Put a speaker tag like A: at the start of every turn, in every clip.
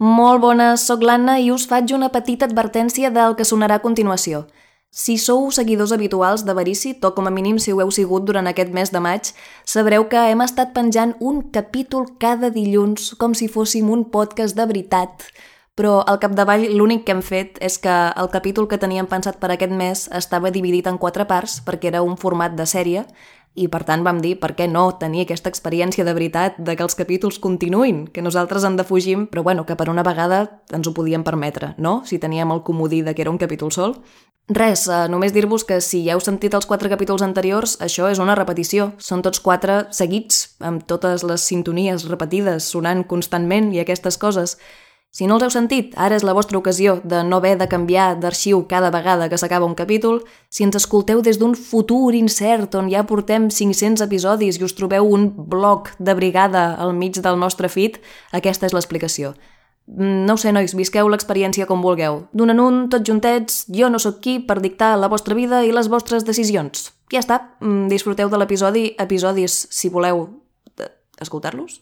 A: Molt bones, sóc l'Anna i us faig una petita advertència del que sonarà a continuació. Si sou seguidors habituals de Verícit, o com a mínim si ho heu sigut durant aquest mes de maig, sabreu que hem estat penjant un capítol cada dilluns com si fóssim un podcast de veritat, però al capdavall l'únic que hem fet és que el capítol que teníem pensat per aquest mes estava dividit en quatre parts perquè era un format de sèrie i per tant vam dir per què no tenir aquesta experiència de veritat de que els capítols continuïn, que nosaltres en defugim, però bueno, que per una vegada ens ho podíem permetre, no? Si teníem el comodí de que era un capítol sol. Res, eh, només dir-vos que si ja heu sentit els quatre capítols anteriors, això és una repetició. Són tots quatre seguits, amb totes les sintonies repetides, sonant constantment i aquestes coses. Si no els heu sentit, ara és la vostra ocasió de no haver de canviar d'arxiu cada vegada que s'acaba un capítol. Si ens escolteu des d'un futur incert on ja portem 500 episodis i us trobeu un bloc de brigada al mig del nostre feed, aquesta és l'explicació. Mm, No ho sé, nois, visqueu l'experiència com vulgueu. D'un en un, tots juntets, jo no sóc qui per dictar la vostra vida i les vostres decisions. Ja està, mm, disfruteu de l'episodi, episodis, si voleu, de- escoltar-los.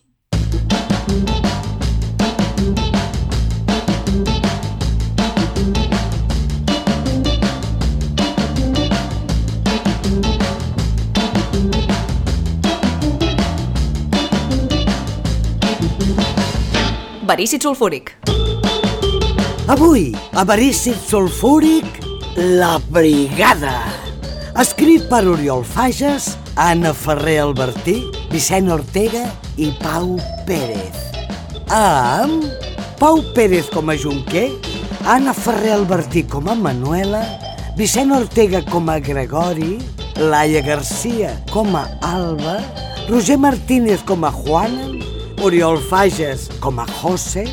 A: Verícit sulfúric.
B: Avui, a Verícit Sulfúric, La Brigada. Escrit per Oriol Fages, Anna Ferrer Albertí, Vicent Ortega i Pau Pérez. Amb Pau Pérez com a Junquer, Anna Ferrer Albertí com a Manuela, Vicent Ortega com a Gregori, Laia Garcia com a Alba, Roger Martínez com a Juanan, Oriol Fages com a José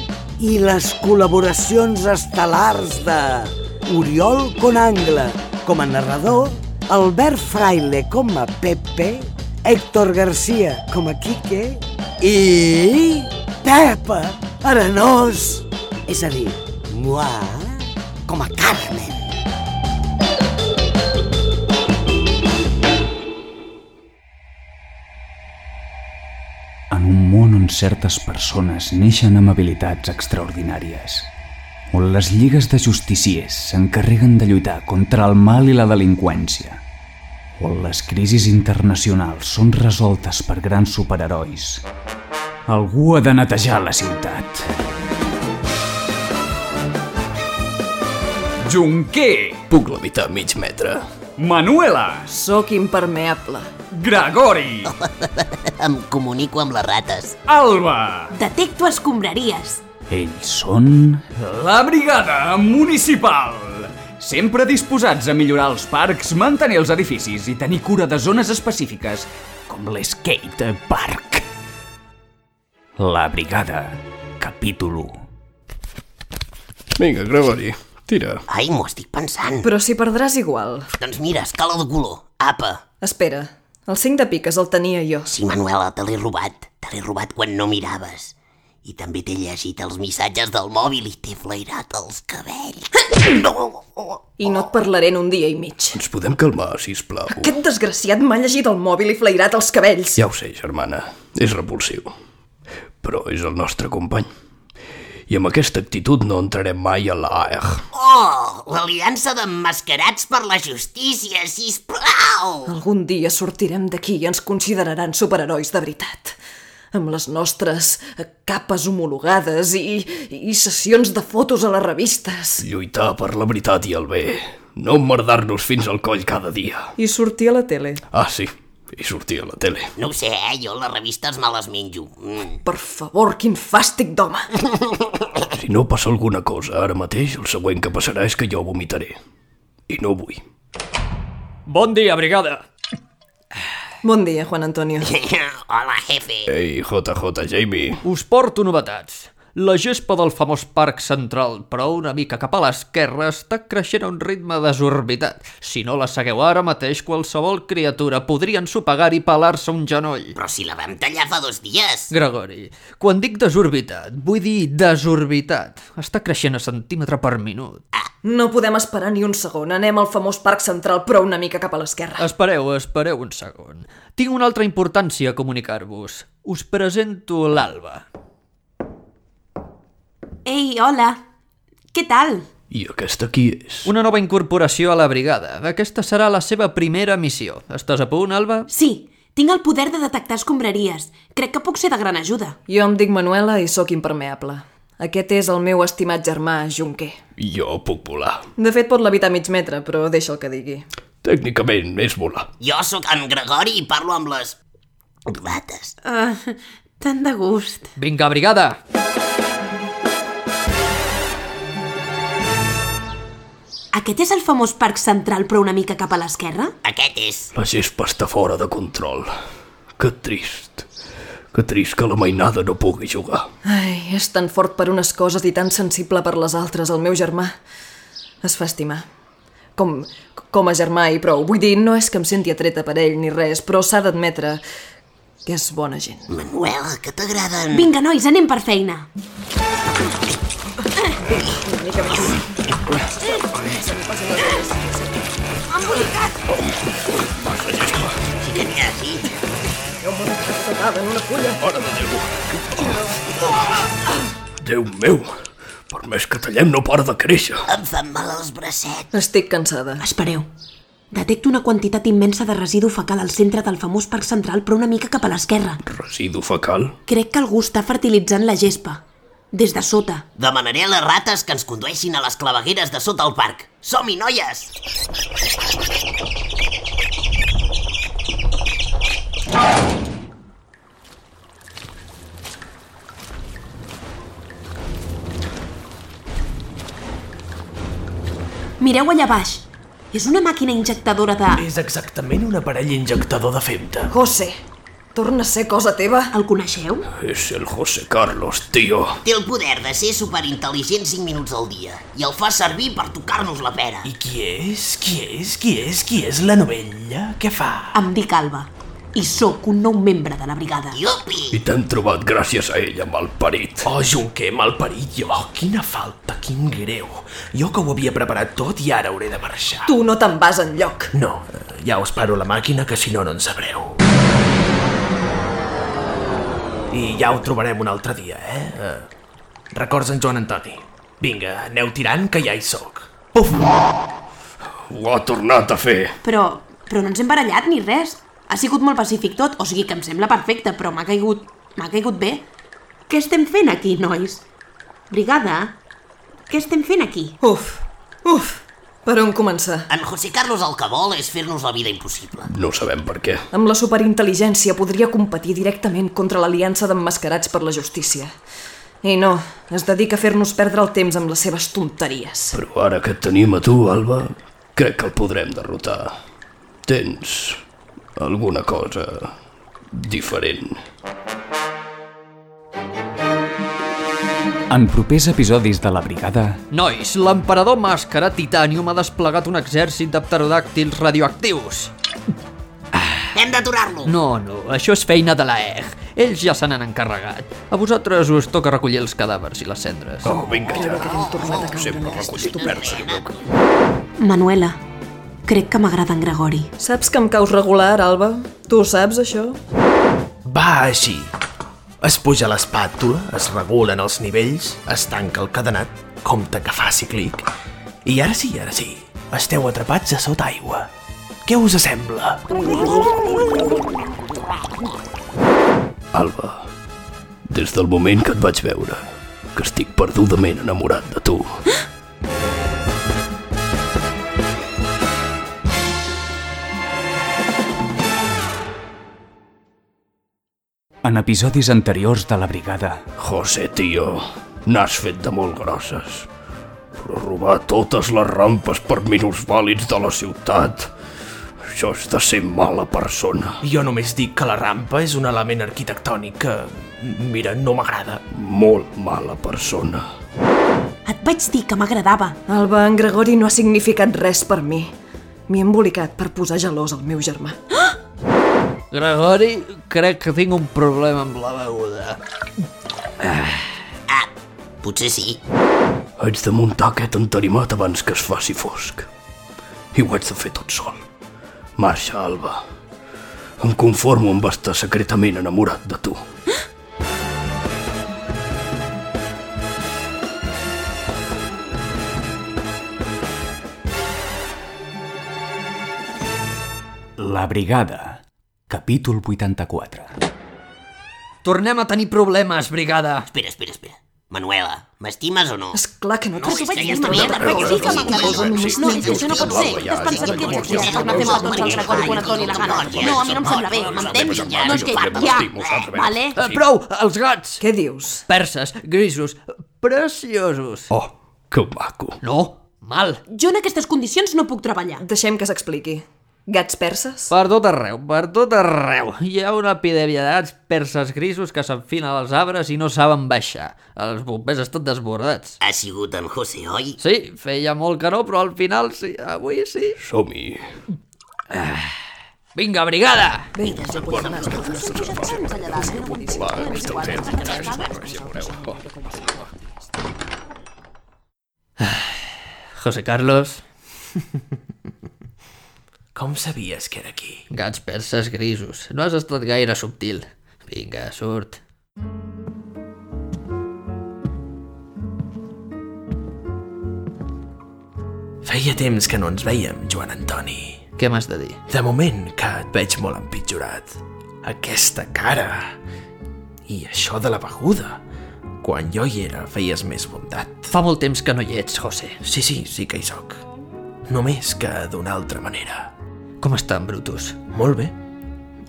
B: i les col·laboracions estel·lars de Oriol Conangle com a narrador, Albert Fraile com a Pepe, Héctor Garcia com a Quique i Pepa Arenós, és a dir, moi, com a Carmen.
C: en un món on certes persones neixen amb habilitats extraordinàries, on les lligues de justiciers s'encarreguen de lluitar contra el mal i la delinqüència, on les crisis internacionals són resoltes per grans superherois. Algú ha de netejar la ciutat. Junquer!
D: Puc levitar a mig metre.
C: Manuela!
A: Sóc impermeable.
C: Gregori!
E: Em comunico amb les rates.
C: Alba!
F: Detecto escombraries.
C: Ells són... La Brigada Municipal! Sempre disposats a millorar els parcs, mantenir els edificis i tenir cura de zones específiques, com l'Skate Park. La Brigada, capítol 1.
D: Vinga, Gregori, tira.
E: Ai, m'ho estic pensant.
A: Però si perdràs igual.
E: Doncs mira, escala de color. Apa.
A: Espera, el 5 de piques el tenia jo.
E: Sí, Manuela, te l'he robat. Te l'he robat quan no miraves. I també t'he llegit els missatges del mòbil i t'he flairat els cabells. No!
A: I no et parlaré en un dia i mig.
D: Ens podem calmar, si plau.
A: Aquest desgraciat m'ha llegit el mòbil i flairat els cabells.
D: Ja ho sé, germana, és repulsiu. Però és el nostre company. I amb aquesta actitud no entrarem mai a l'AEG.
E: Oh, l'aliança d'emmascarats per la justícia, sisplau!
A: Algun dia sortirem d'aquí i ens consideraran superherois de veritat. Amb les nostres eh, capes homologades i, i sessions de fotos a les revistes.
D: Lluitar per la veritat i el bé. No emmerdar-nos fins al coll cada dia.
A: I sortir a la tele.
D: Ah, sí, i sortir a la tele.
E: No ho sé, eh? Jo les revistes me les menjo. Mm.
A: Per favor, quin fàstic d'home!
D: Si no passa alguna cosa ara mateix, el següent que passarà és que jo vomitaré. I no vull.
G: Bon dia, brigada.
A: Bon dia, Juan Antonio.
E: Hola, jefe.
D: Ei, JJ Jamie,
G: Us porto novetats. La gespa del famós parc central, però una mica cap a l'esquerra, està creixent a un ritme desorbitat. Si no la segueu ara mateix, qualsevol criatura podria ensopegar i pelar-se un genoll.
E: Però si la vam tallar fa dos dies.
G: Gregori, quan dic desorbitat, vull dir desorbitat. Està creixent a centímetre per minut.
A: No podem esperar ni un segon. Anem al famós Parc Central, però una mica cap a l'esquerra.
G: Espereu, espereu un segon. Tinc una altra importància a comunicar-vos. Us presento l'Alba.
F: Ei, hola. Què tal?
D: I aquesta qui és?
G: Una nova incorporació a la brigada. Aquesta serà la seva primera missió. Estàs a punt, Alba?
F: Sí, tinc el poder de detectar escombraries. Crec que puc ser de gran ajuda.
H: Jo em dic Manuela i sóc impermeable. Aquest és el meu estimat germà, Junquer.
D: Jo puc volar.
H: De fet, pot levitar mig metre, però deixa el que digui.
D: Tècnicament és volar.
E: Jo sóc en Gregori i parlo amb les... rates.
F: Uh, tant de gust.
G: Vinga, brigada!
F: Aquest és el famós parc central, però una mica cap a l'esquerra?
E: Aquest és...
D: La gespa està fora de control. Que trist. Que trist que la mainada no pugui jugar.
H: Ai, és tan fort per unes coses i tan sensible per les altres, el meu germà. Es fa estimar. Com, com a germà i prou. Vull dir, no és que em senti atreta per ell ni res, però s'ha d'admetre que és bona gent.
E: Manuela, que t'agraden...
F: Vinga, nois, anem per feina.
D: Déu meu! Per més que tallem no para de créixer.
E: Em fan mal els bracets.
H: Estic cansada.
F: Espereu. Detecto una quantitat immensa de residu fecal al centre del famós parc central, però una mica cap a l'esquerra.
D: Residu fecal?
F: Crec que algú està fertilitzant la gespa. Des de sota.
E: Demanaré a les rates que ens condueixin a les clavegueres de sota el parc. Som-hi, noies!
F: Mireu allà baix. És una màquina injectadora de...
I: És exactament un aparell injectador de femta.
H: José, torna a ser cosa teva.
F: El coneixeu?
D: És el José Carlos, tio.
I: Oh.
E: Té el poder de ser superintel·ligent 5 minuts al dia i el fa servir per tocar-nos la pera.
I: I qui és? Qui és? Qui és? Qui és la novella? Què fa?
F: Em dic Alba i sóc un nou membre de la brigada.
E: Iupi!
D: I t'hem trobat gràcies a ella, malparit.
I: Oh, Junquer, malparit jo. oh, Quina falta, quin greu. Jo que ho havia preparat tot i ara hauré de marxar.
H: Tu no te'n vas enlloc.
I: No, eh, ja us paro la màquina que si no, no en sabreu. I ja ho trobarem un altre dia, eh? Eh, Records en Joan Antoni. Vinga, aneu tirant que ja hi sóc. Puf!
D: Ho ha tornat a fer.
F: Però, però no ens hem barallat ni res. Ha sigut molt pacífic tot, o sigui que em sembla perfecte, però m'ha caigut... m'ha caigut bé. Què estem fent aquí, nois? Brigada, què estem fent aquí?
H: Uf, uf, per on començar?
E: En José Carlos el que vol és fer-nos la vida impossible.
D: No sabem per què.
H: Amb la superintel·ligència podria competir directament contra l'aliança d'emmascarats per la justícia. I no, es dedica a fer-nos perdre el temps amb les seves tonteries.
D: Però ara que et tenim a tu, Alba, crec que el podrem derrotar. Tens alguna cosa diferent.
C: En propers episodis de La Brigada,
G: Nois, l'emperador màscara Titanium ha desplegat un exèrcit de pterodàctils radioactius.
E: Hem d'aturar-lo!
G: No, no, això és feina de la EG. Ells ja se n'han encarregat. A vosaltres us toca recollir els cadàvers i les cendres.
D: Oh, vinga ja. Oh, Sempre recollit persa.
F: Manuela, crec que m'agrada en Gregori.
H: Saps que em caus regular, Alba? Tu ho saps, això?
I: Va així. Es puja l'espàtula, es regulen els nivells, es tanca el cadenat, compte que faci clic. I ara sí, ara sí, esteu atrapats a sota aigua. Què us sembla?
D: Alba, des del moment que et vaig veure, que estic perdudament enamorat de tu.
C: en episodis anteriors de La Brigada,
D: José, tio, n'has fet de molt grosses. Però robar totes les rampes per minusvàlids de la ciutat... Això és de ser mala persona.
I: Jo només dic que la rampa és un element arquitectònic que, mira, no m'agrada.
D: Molt mala persona.
F: Et vaig dir que m'agradava.
H: Alba, en Gregori no ha significat res per mi. M'hi he embolicat per posar gelós al meu germà.
G: Gregori, crec que tinc un problema amb la beguda.
E: Ah, potser sí.
D: Haig de muntar aquest entarimat abans que es faci fosc. I ho haig de fer tot sol. Marxa, Alba. Em conformo amb estar secretament enamorat de tu.
C: La Brigada, capítol 84.
G: Tornem a tenir problemes, brigada.
E: Espera, espera, espera. Manuela, m'estimes o no?
A: És clar que no
E: No, és que ja està
A: Manuela,
E: bé,
A: però
E: perquè
A: sí
E: sí que
A: que
E: m'agrada.
A: m'agrada.
E: Sí,
A: No,
E: sí,
A: és que això no
E: sí,
A: pot
E: sí,
A: ser.
E: sí,
A: Que es pensa
E: sí,
A: que
E: sí,
A: és
E: sí,
A: el
E: sí,
A: que m'ha fet
E: sí,
A: mal tots
F: doncs
E: sí,
A: els records
E: sí,
A: quan
E: sí,
A: Toni
E: sí,
A: la
E: sí,
A: gana.
E: sí,
F: No, a
E: sí,
F: mi no em
E: sí,
F: sembla bé,
E: sí,
F: m'entens?
E: sí, sí,
F: No, és
E: sí,
F: que
E: sí, sí,
F: ja... doncs
E: sí, sí, sí,
F: Vale?
G: Eh, prou, els gats!
A: Què dius?
G: Perses, grisos, preciosos.
D: Oh, que maco.
G: No, mal.
F: Jo en aquestes condicions no puc treballar.
A: Deixem que s'expliqui. Gats perses?
G: Per tot arreu, per tot arreu. Hi ha una epidèmia de gats perses grisos que s'enfina als arbres i no saben baixar. Els bombers estan desbordats.
E: Ha sigut en José, oi?
G: Sí, feia molt que no, però al final sí, avui sí. Ah.
D: Som-hi.
G: Vinga, brigada!
A: Vinga, ja pots anar.
G: José Carlos,
I: Com sabies que era aquí?
G: gats perses grisos. No has estat gaire subtil. Vinga, surt.
I: Feia temps que no ens veiem, Joan Antoni.
G: Què m'has de dir?
I: De moment que et veig molt empitjorat. Aquesta cara... I això de la beguda. Quan jo hi era, feies més bondat.
G: Fa molt temps que no hi ets, José.
I: Sí, sí, sí que hi sóc. Només que d'una altra manera.
G: Com està en Brutus?
I: Molt bé.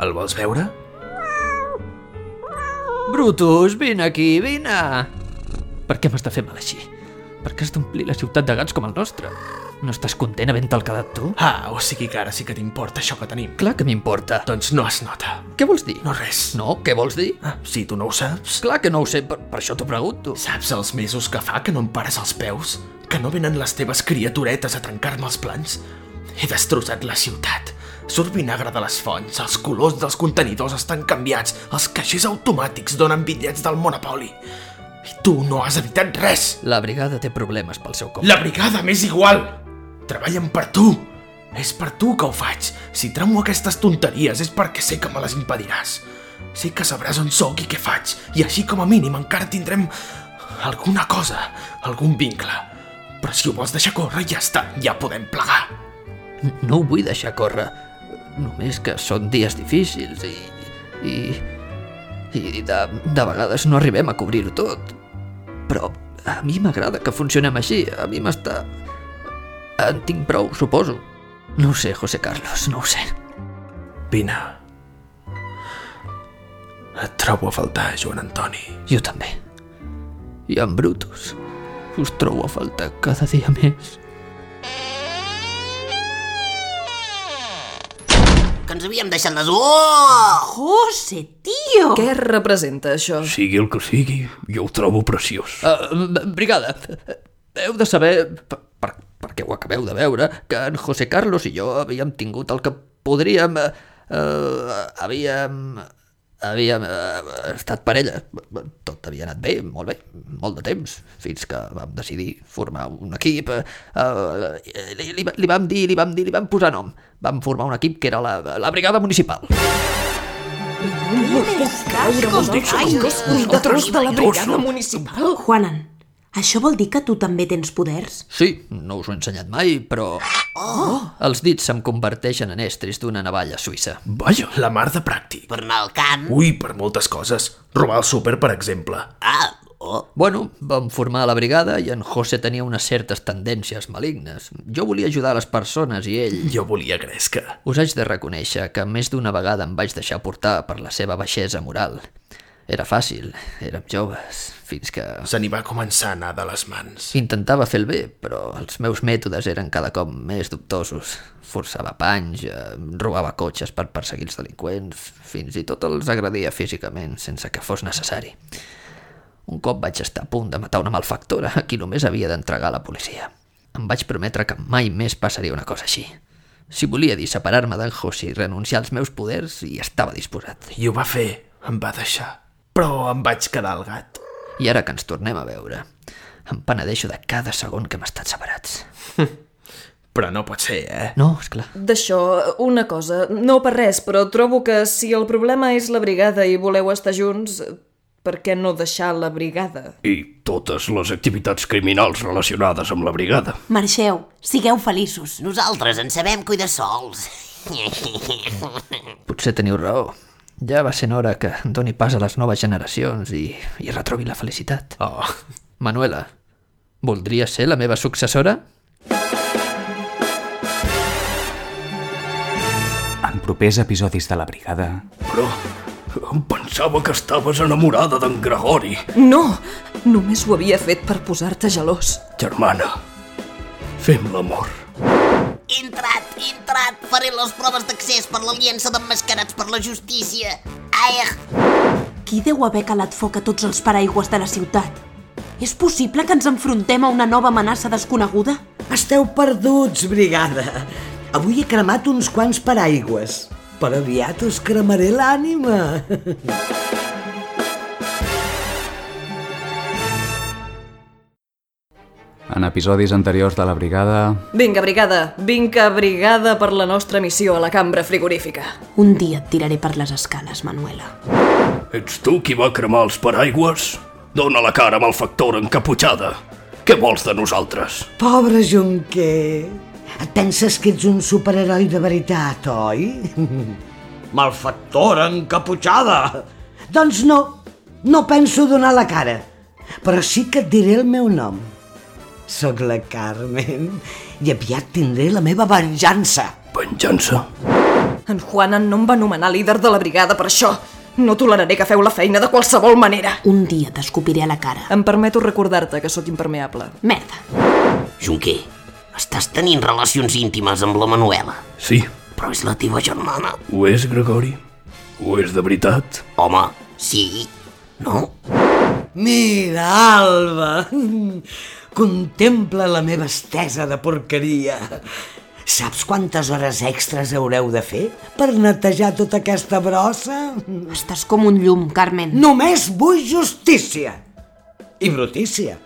I: El vols veure?
G: Brutus, vine aquí, vine! Per què m'has de fer mal així? Per què has d'omplir la ciutat de gats com el nostre? No estàs content havent-te'l quedat tu?
I: Ah, o sigui que ara sí que t'importa això que tenim.
G: Clar que m'importa.
I: Doncs no es nota.
G: Què vols dir?
I: No res.
G: No, què vols dir?
I: Ah, si tu no ho saps.
G: Clar que no ho sé, per, per això t'ho pregunto.
I: Saps els mesos que fa que no em pares els peus? Que no venen les teves criaturetes a trencar-me els plans? He destrossat la ciutat. Surt vinagre de les fonts, els colors dels contenidors estan canviats, els caixers automàtics donen bitllets del Monopoli. I tu no has evitat res!
G: La brigada té problemes pel seu cop.
I: La brigada m'és igual! Treballen per tu! És per tu que ho faig. Si tramo aquestes tonteries és perquè sé que me les impediràs. Sé que sabràs on sóc i què faig, i així com a mínim encara tindrem alguna cosa, algun vincle. Però si ho vols deixar córrer, ja està, ja podem plegar.
G: No ho vull deixar córrer. Només que són dies difícils i... i... i de, de vegades no arribem a cobrir-ho tot. Però a mi m'agrada que funcionem així. A mi m'està... En tinc prou, suposo. No ho sé, José Carlos, no ho sé.
I: Vine. Et trobo a faltar, Joan Antoni.
G: Jo també. I en Brutus. Us trobo a faltar cada dia més.
E: Que ens havíem deixat les... Oh!
F: José, tio!
A: Què representa això?
D: Sigui el que sigui, jo ho trobo preciós.
G: Uh, brigada, heu de saber, per, per, perquè ho acabeu de veure, que en José Carlos i jo havíem tingut el que podríem... Uh, havíem... Havíem uh, estat parella. Tot havia anat bé, molt bé, molt de temps, fins que vam decidir formar un equip. Uh, uh, li, li, li vam dir, li vam dir, li vam posar nom. Vam formar un equip que era la, la brigada municipal.
A: Fundadors de la brigada municipal?
F: Juanan, això vol dir que tu també tens poders?
G: Sí, no us ho he ensenyat mai, però... Oh! Els dits se'm converteixen en estris d'una navalla suïssa.
I: Vaja, la mar de pràctic.
E: Per anar al camp?
I: Ui, per moltes coses. Robar el súper, per exemple.
E: Ah, oh,
G: Bueno, vam formar la brigada i en José tenia unes certes tendències malignes. Jo volia ajudar les persones i ell...
I: Jo volia gresca.
G: Us haig de reconèixer que més d'una vegada em vaig deixar portar per la seva baixesa moral. Era fàcil, érem joves, fins que...
I: Se n'hi va començar a anar de les mans.
G: Intentava fer el bé, però els meus mètodes eren cada cop més dubtosos. Forçava panys, eh, robava cotxes per perseguir els delinqüents, fins i tot els agredia físicament, sense que fos necessari. Un cop vaig estar a punt de matar una malfactora a qui només havia d'entregar a la policia. Em vaig prometre que mai més passaria una cosa així. Si volia dir separar-me d'en José i renunciar als meus poders, hi estava disposat.
I: I ho va fer, em va deixar. Però em vaig quedar al gat.
G: I ara que ens tornem a veure, em penedeixo de cada segon que hem estat separats.
I: Però no pot ser, eh?
G: No, és clar.
A: D'això, una cosa, no per res, però trobo que si el problema és la brigada i voleu estar junts, per què no deixar la brigada?
D: I totes les activitats criminals relacionades amb la brigada.
F: Marxeu, sigueu feliços.
E: nosaltres en sabem cuidar sols.
G: Potser teniu raó. Ja va sent hora que doni pas a les noves generacions i, i retrobi la felicitat. Oh. Manuela, voldria ser la meva successora?
C: En propers episodis de La Brigada...
D: Però em pensava que estaves enamorada d'en Gregori,
H: No! Només ho havia fet per posar-te gelós.
D: germana. Fem l'amor.
E: He entrat, he entrat. Faré les proves d'accés per l'Aliança d'Emmascarats per la Justícia. Aer,
F: Qui deu haver calat foc a tots els paraigües de la ciutat? És possible que ens enfrontem a una nova amenaça desconeguda?
B: Esteu perduts, brigada. Avui he cremat uns quants paraigües, però aviat us cremaré l'ànima.
C: En episodis anteriors de La Brigada...
H: Vinga, brigada, vinga, brigada per la nostra missió a la cambra frigorífica.
F: Un dia et tiraré per les escales, Manuela.
D: Ets tu qui va cremar els paraigües? Dóna la cara, malfactora encaputxada. Què vols de nosaltres?
B: Pobre Junquer. Et penses que ets un superheroi de veritat, oi? Malfactora encaputxada. Doncs no, no penso donar la cara. Però sí que et diré el meu nom. Soc la Carmen i aviat tindré la meva venjança.
D: Venjança?
H: En Juanan no em va nomenar líder de la brigada per això. No toleraré que feu la feina de qualsevol manera.
F: Un dia t'escopiré a la cara.
H: Em permeto recordar-te que sóc impermeable.
F: Merda.
E: Junquer, estàs tenint relacions íntimes amb la Manuela,
D: Sí,
E: però és la teva germana.
D: ho és, Gregori. Ho és de veritat.
E: Home, sí, no?
B: Mira, Alba, contempla la meva estesa de porqueria. Saps quantes hores extres haureu de fer per netejar tota aquesta brossa?
F: Estàs com un llum, Carmen.
B: Només vull justícia i brutícia.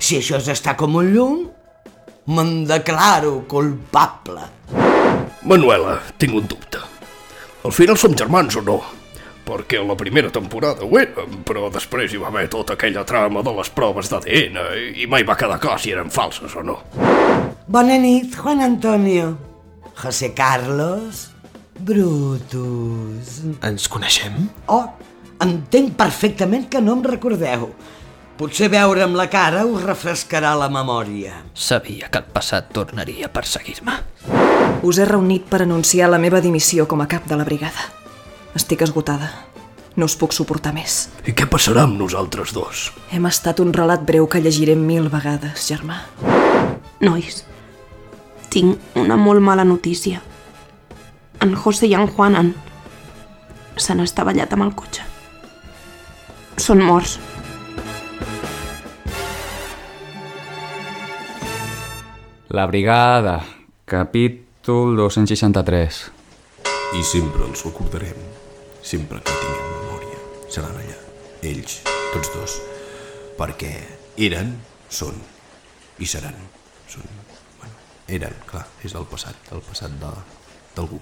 B: Si això és estar com un llum, me'n declaro culpable.
D: Manuela, tinc un dubte. Al final som germans o no? Perquè a la primera temporada ho érem, però després hi va haver tota aquella trama de les proves d'ADN i mai va quedar clar si eren falses o no.
B: Bona nit, Juan Antonio. José Carlos Brutus.
I: Ens coneixem?
B: Oh, entenc perfectament que no em recordeu. Potser veure'm la cara us refrescarà la memòria.
G: Sabia que el passat tornaria a perseguir-me.
H: Us he reunit per anunciar la meva dimissió com a cap de la brigada. Estic esgotada. No us puc suportar més.
D: I què passarà amb nosaltres dos?
H: Hem estat un relat breu que llegiré mil vegades, germà.
F: Nois, tinc una molt mala notícia. En José i en Juanan se n'ha estavellat amb el cotxe. Són morts.
C: La Brigada, capítol 263.
J: I sempre els recordarem. Sempre que tinguem memòria. Seran allà. Ells, tots dos. Perquè eren, són. I seran. Són. Bueno, eren, clar, és el passat. El passat de- d'algú.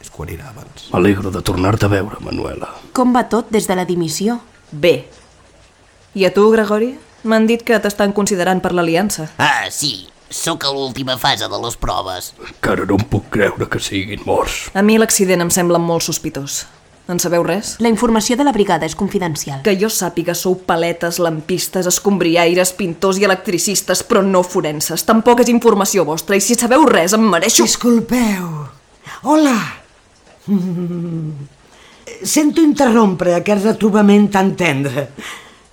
J: És quan era abans.
D: M'alegro de tornar-te a veure, Manuela.
F: Com va tot des de la dimissió?
H: Bé. I a tu, Gregori? M'han dit que t'estan considerant per l'aliança.
E: Ah, sí, sóc a l'última fase de les proves.
D: Encara no em puc creure que siguin morts.
H: A mi l'accident em sembla molt sospitós. En sabeu res?
F: La informació de la brigada és confidencial.
H: Que jo sàpiga sou paletes, lampistes, escombriaires, pintors i electricistes, però no forenses. Tampoc és informació vostra i si sabeu res em mereixo...
B: Disculpeu. Hola. Mm. Sento interrompre aquest retrobament tan tendre.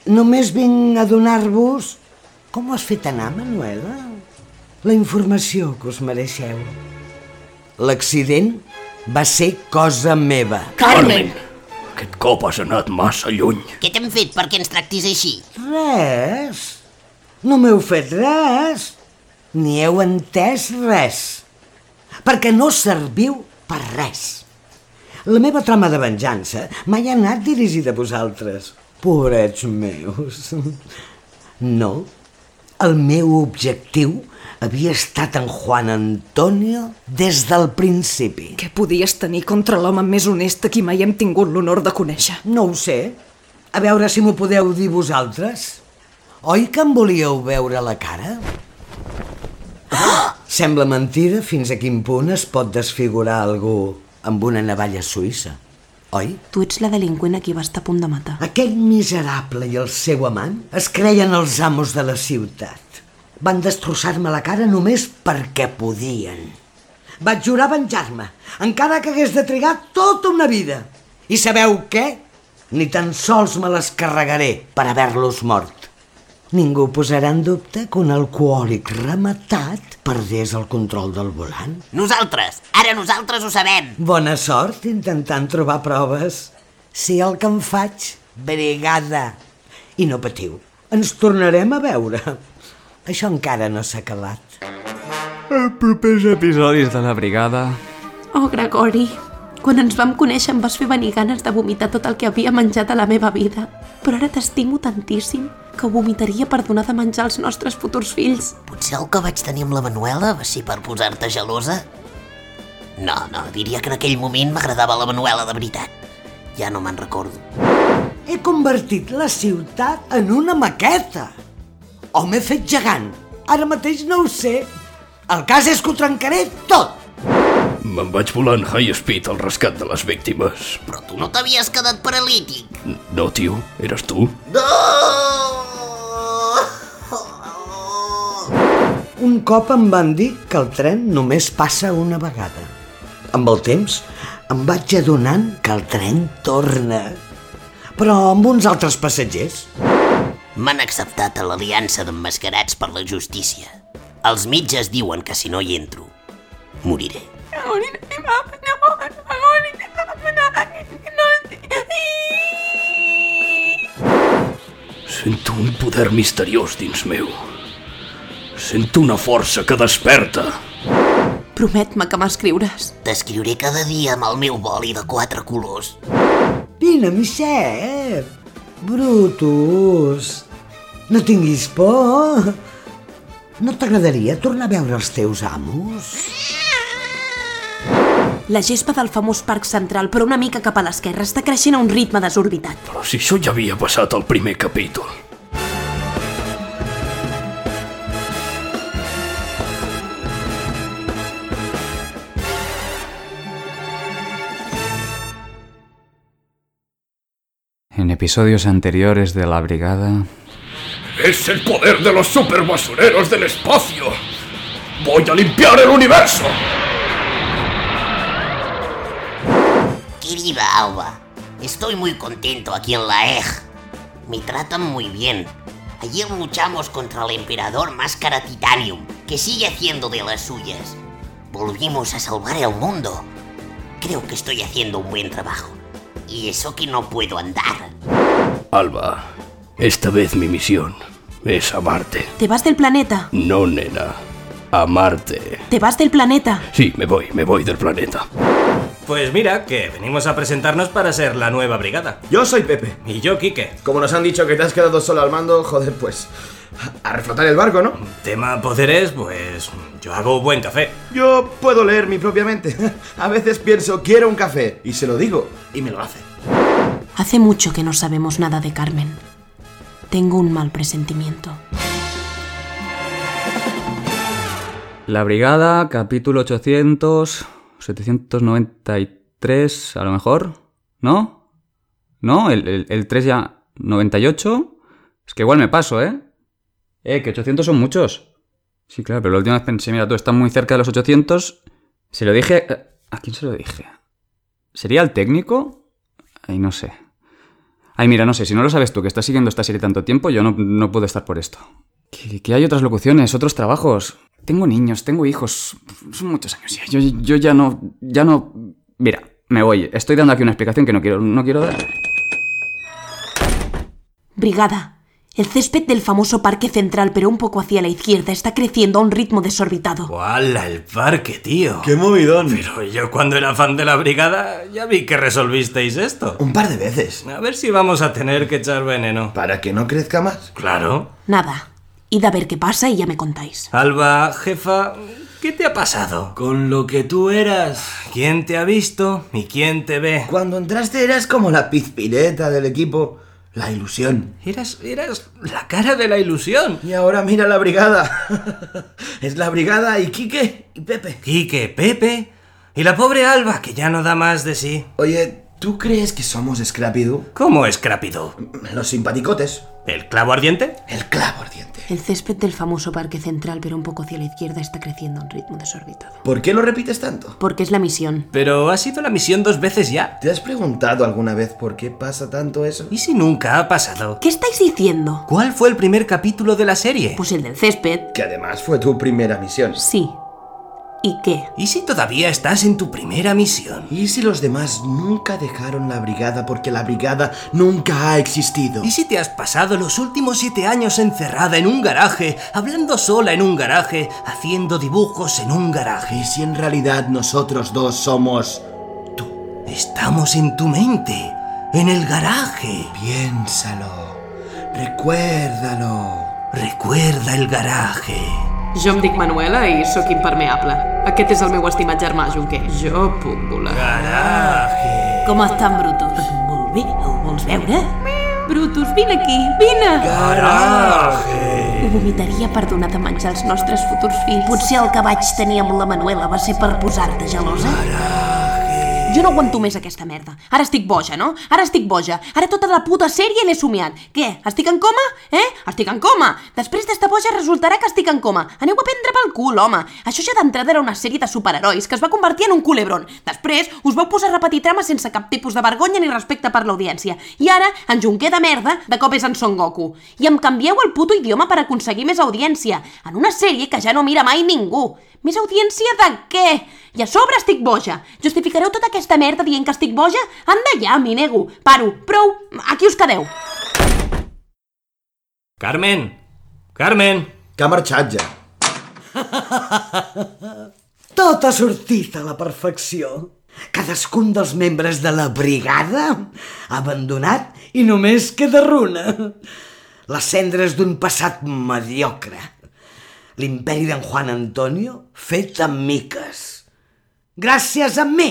B: Només vinc a donar-vos... Com ho has fet anar, Manuela? La informació que us mereixeu. L'accident va ser cosa meva.
D: Carmen! Aquest cop has anat massa lluny.
E: Què t'hem fet perquè ens tractis així?
B: Res. No m'heu fet res. Ni heu entès res. Perquè no serviu per res. La meva trama de venjança mai ha anat dirigida a vosaltres. Pobrets meus. No. El meu objectiu havia estat en Juan Antonio des del principi.
H: Què podies tenir contra l'home més honest a qui mai hem tingut l'honor de conèixer?
B: No ho sé. A veure si m'ho podeu dir vosaltres. Oi que em volíeu veure la cara? Sembla mentida fins a quin punt es pot desfigurar algú amb una navalla suïssa, oi?
F: Tu ets la delinqüent a qui va estar a punt de matar.
B: Aquest miserable i el seu amant es creien els amos de la ciutat. Van destrossar-me la cara només perquè podien. Vaig jurar venjar-me, encara que hagués de trigar tota una vida. I sabeu què? Ni tan sols me les carregaré per haver-los mort. Ningú posarà en dubte que un alcohòlic rematat perdés el control del volant.
E: Nosaltres, ara nosaltres ho sabem.
B: Bona sort intentant trobar proves. Si el que em faig, brigada. I no patiu, ens tornarem a veure. Això encara no s'ha acabat.
C: En propers episodis de la brigada...
F: Oh, Gregori, quan ens vam conèixer em vas fer venir ganes de vomitar tot el que havia menjat a la meva vida. Però ara t'estimo tantíssim que ho vomitaria per donar de menjar als nostres futurs fills.
E: Potser el que vaig tenir amb la Manuela va ser per posar-te gelosa? No, no, diria que en aquell moment m'agradava la Manuela de veritat. Ja no me'n recordo.
B: He convertit la ciutat en una maqueta. O m'he fet gegant. Ara mateix no ho sé. El cas és que ho trencaré tot.
D: Me'n vaig volant high speed al rescat de les víctimes.
E: Però tu no t'havies quedat paralític.
D: No, tio, eres tu?
E: No! Ah!
B: Un cop em van dir que el tren només passa una vegada. Amb el temps em vaig adonant que el tren torna, però amb uns altres passatgers.
E: M'han acceptat a l'aliança d'emmascarats per la justícia. Els metges diuen que si no hi entro, moriré.
D: Sento un poder misteriós dins meu. Sento una força que desperta.
F: Promet-me que m'escriuràs.
E: T'escriuré cada dia amb el meu boli de quatre colors.
B: Vine, Michel! Brutus! No tinguis por! No t'agradaria tornar a veure els teus amos?
F: La gespa del famós parc central, però una mica cap a l'esquerra, està creixent a un ritme desorbitat.
D: Però si això ja havia passat al primer capítol.
C: En episodios anteriores de la brigada...
D: ¡Es el poder de los superbasureros del espacio! ¡Voy a limpiar el universo!
E: Querida Alba, estoy muy contento aquí en la EJ. Me tratan muy bien. Ayer luchamos contra el emperador Máscara Titanium, que sigue haciendo de las suyas. Volvimos a salvar el mundo. Creo que estoy haciendo un buen trabajo. Y eso que no puedo andar.
D: Alba, esta vez mi misión es amarte.
F: Te vas del planeta.
D: No, nena. Amarte.
F: Te vas del planeta.
D: Sí, me voy, me voy del planeta.
K: Pues mira, que venimos a presentarnos para ser la nueva brigada.
L: Yo soy Pepe.
K: Y yo, Quique.
L: Como nos han dicho que te has quedado solo al mando, joder, pues. A reflotar el barco, ¿no?
K: Tema poderes, pues. Yo hago buen café.
L: Yo puedo leer mi propia mente. A veces pienso, quiero un café, y se lo digo, y me lo hace.
F: Hace mucho que no sabemos nada de Carmen. Tengo un mal presentimiento.
C: La brigada, capítulo 800... 793, a lo mejor. ¿No? ¿No? El, el, el 3 ya... 98. Es que igual me paso, ¿eh? Eh, que 800 son muchos. Sí, claro, pero la última vez pensé, mira, tú estás muy cerca de los 800. Se lo dije... ¿A quién se lo dije? ¿Sería el técnico? Ay, no sé. Ay, mira, no sé, si no lo sabes tú, que estás siguiendo esta serie tanto tiempo, yo no, no puedo estar por esto. Que, que hay otras locuciones, otros trabajos. Tengo niños, tengo hijos. Son muchos años ya. Yo, yo ya no. Ya no. Mira, me voy. Estoy dando aquí una explicación que no quiero, no quiero dar.
F: Brigada. El césped del famoso parque central, pero un poco hacia la izquierda, está creciendo a un ritmo desorbitado.
K: ¡Hala, el parque, tío!
L: ¡Qué movidón!
K: Pero yo cuando era fan de la brigada ya vi que resolvisteis esto.
L: Un par de veces.
K: A ver si vamos a tener que echar veneno.
L: ¿Para que no crezca más?
K: Claro.
F: Nada. Id a ver qué pasa y ya me contáis.
K: Alba, jefa, ¿qué te ha pasado?
M: Con lo que tú eras,
K: ¿quién te ha visto y quién te ve?
L: Cuando entraste eras como la pizpireta del equipo.
I: La ilusión.
K: Eras, eras la cara de la ilusión.
I: Y ahora mira la brigada. es la brigada y Quique y Pepe.
K: Quique, Pepe y la pobre Alba, que ya no da más de sí.
I: Oye, ¿tú crees que somos Scrapido?
K: ¿Cómo Scrapido?
I: Los simpaticotes.
K: ¿El clavo ardiente?
I: El clavo ardiente.
N: El césped del famoso parque central, pero un poco hacia la izquierda, está creciendo a un ritmo desorbitado.
I: ¿Por qué lo repites tanto?
N: Porque es la misión.
K: Pero ha sido la misión dos veces ya.
I: ¿Te has preguntado alguna vez por qué pasa tanto eso?
K: ¿Y si nunca ha pasado?
N: ¿Qué estáis diciendo?
K: ¿Cuál fue el primer capítulo de la serie?
N: Pues el del césped.
I: Que además fue tu primera misión.
N: Sí, ¿Y qué?
K: ¿Y si todavía estás en tu primera misión?
I: ¿Y si los demás nunca dejaron la brigada porque la brigada nunca ha existido?
K: ¿Y si te has pasado los últimos siete años encerrada en un garaje, hablando sola en un garaje, haciendo dibujos en un garaje?
I: ¿Y si en realidad nosotros dos somos
K: tú? Estamos en tu mente, en el garaje.
I: Piénsalo, recuérdalo.
K: Recuerda el garaje.
O: Jo em dic Manuela i sóc impermeable. Aquest és el meu estimat germà, Junquer. Jo puc volar.
K: Garaje!
F: Com estan, Brutus?
E: Molt bé, ho vols veure?
F: Brutus, vine aquí, vine!
K: Garaje!
E: Ho vomitaria per donar de menjar als nostres futurs fills.
F: Potser el que vaig tenir amb la Manuela va ser per posar-te gelosa.
K: Garaje!
F: Jo no aguanto més aquesta merda. Ara estic boja, no? Ara estic boja. Ara tota la puta sèrie l'he somiat. Què? Estic en coma? Eh? Estic en coma! Després d'estar boja resultarà que estic en coma. Aneu a prendre pel cul, home. Això ja d'entrada era una sèrie de superherois que es va convertir en un culebron. Després us vau posar a repetir trames sense cap tipus de vergonya ni respecte per l'audiència. I ara, en Junquer de merda, de cop és en Son Goku. I em canvieu el puto idioma per aconseguir més audiència. En una sèrie que ja no mira mai ningú. Més audiència de què? I a sobre estic boja. Justificareu tota aquesta merda dient que estic boja? Anda ja, m'hi nego. Paro, prou, aquí us quedeu.
K: Carmen! Carmen!
I: Que ha marxat ja.
B: Tot ha sortit a la perfecció. Cadascun dels membres de la brigada ha abandonat i només queda runa. Les cendres d'un passat mediocre l'imperi d'en Juan Antonio fet amb miques. Gràcies a mi,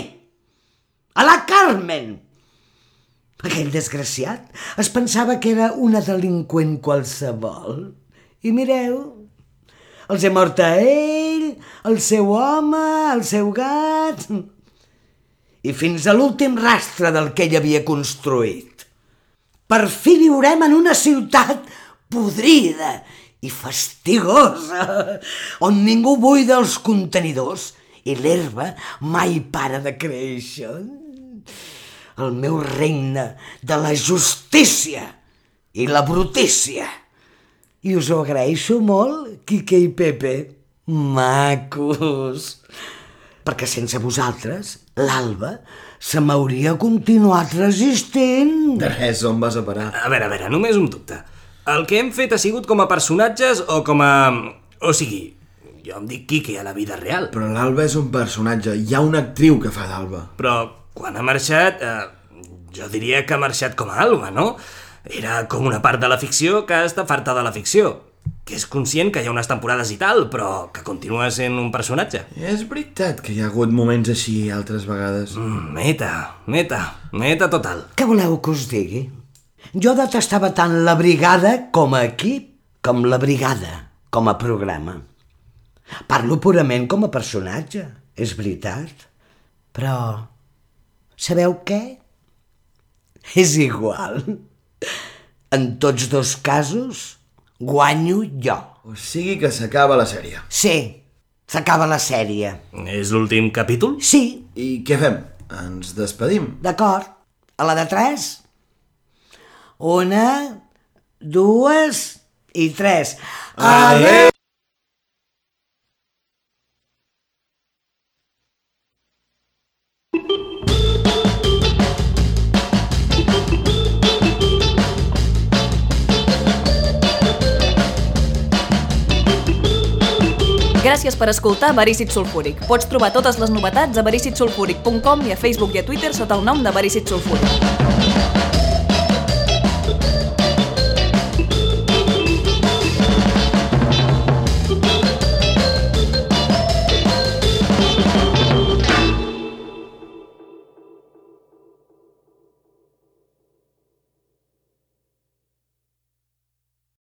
B: a la Carmen. Aquell desgraciat es pensava que era una delinqüent qualsevol. I mireu, els he mort a ell, el seu home, el seu gat... I fins a l'últim rastre del que ell havia construït. Per fi viurem en una ciutat podrida i fastigosa, on ningú buida els contenidors i l'herba mai para de créixer. El meu regne de la justícia i la brutícia. I us ho agraeixo molt, Quique i Pepe. Macos! Perquè sense vosaltres, l'Alba se m'hauria continuat resistint.
I: De res, on vas a parar?
K: A veure, a veure, només un dubte. El que hem fet ha sigut com a personatges o com a... O sigui, jo em dic Quique a la vida real.
I: Però l'Alba és un personatge, hi ha una actriu que fa d'Alba.
K: Però quan ha marxat, eh, jo diria que ha marxat com a Alba, no? Era com una part de la ficció que està farta de la ficció que és conscient que hi ha unes temporades i tal, però que continua sent un personatge.
I: És veritat que hi ha hagut moments així altres vegades.
K: Mm, meta, meta, meta total.
B: Què voleu que us digui? Jo detestava tant la brigada com a equip, com la brigada, com a programa. Parlo purament com a personatge, és veritat. Però... Sabeu què? És igual. En tots dos casos, guanyo jo.
I: O sigui que s'acaba la sèrie.
B: Sí, s'acaba la sèrie.
K: És l'últim capítol?
B: Sí.
I: I què fem? Ens despedim.
B: D'acord. A la de tres? Una, dues i tres. Adéu!
H: Gràcies per escoltar Verícit Sulfúric. Pots trobar totes les novetats a vericitsulfúric.com i a Facebook i a Twitter sota el nom de Verícit Sulfúric.